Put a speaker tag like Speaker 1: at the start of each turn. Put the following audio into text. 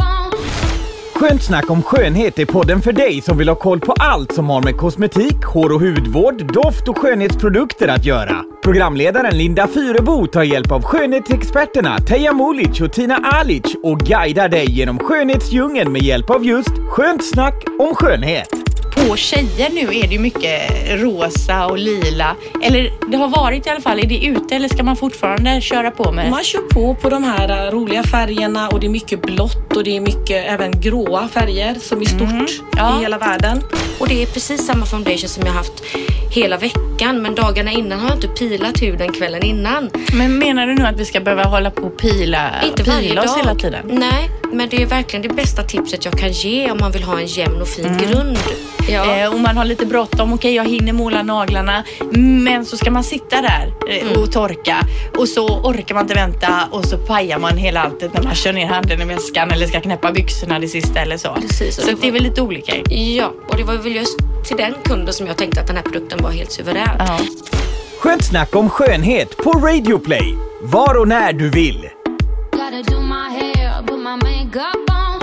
Speaker 1: on.
Speaker 2: Skönt snack om skönhet är podden för dig som vill ha koll på allt som har med kosmetik, hår och hudvård, doft och skönhetsprodukter att göra. Programledaren Linda Fyrebo tar hjälp av skönhetsexperterna Teija Mulic och Tina Alic och guidar dig genom skönhetsdjungeln med hjälp av just Skönt snack om skönhet.
Speaker 3: på tjejer nu är det ju mycket rosa och lila. Eller det har varit i alla fall. Är det ute eller ska man fortfarande köra på med?
Speaker 4: Man kör på på de här eh, roliga färgerna och det är mycket blått och det är mycket även gråa färger som är stort
Speaker 3: Ja.
Speaker 4: i hela världen.
Speaker 5: Och det är precis samma foundation som jag haft hela veckan. Men dagarna innan har jag inte pilat huden kvällen innan.
Speaker 3: Men menar du nu att vi ska behöva hålla på och pila,
Speaker 5: inte varje
Speaker 3: Äh, pila
Speaker 5: dag.
Speaker 3: oss hela tiden?
Speaker 5: Nej, men det är verkligen det bästa tipset jag kan ge om man vill ha en jämn och fin
Speaker 3: Mm.
Speaker 5: grund. Ja.
Speaker 3: Eh, och man har lite bråttom. Okej, jag hinner måla naglarna. Men så ska man sitta där eh,
Speaker 5: Mm.
Speaker 3: och torka. Och så orkar man inte vänta och så pajar man hela alltet när man kör ner handen i väskan eller ska knäppa byxorna det sista eller så.
Speaker 5: Precis, och
Speaker 3: så
Speaker 5: det
Speaker 3: att det är
Speaker 5: var-
Speaker 3: väl lite olika.
Speaker 5: ja, och det var väl just till den kunden som jag tänkte att den här produkten var helt suverän.
Speaker 3: Ja.
Speaker 2: Skönt snack om skönhet på Radio Play. Var och när du vill.
Speaker 1: Gotta do my hair, put my makeup on.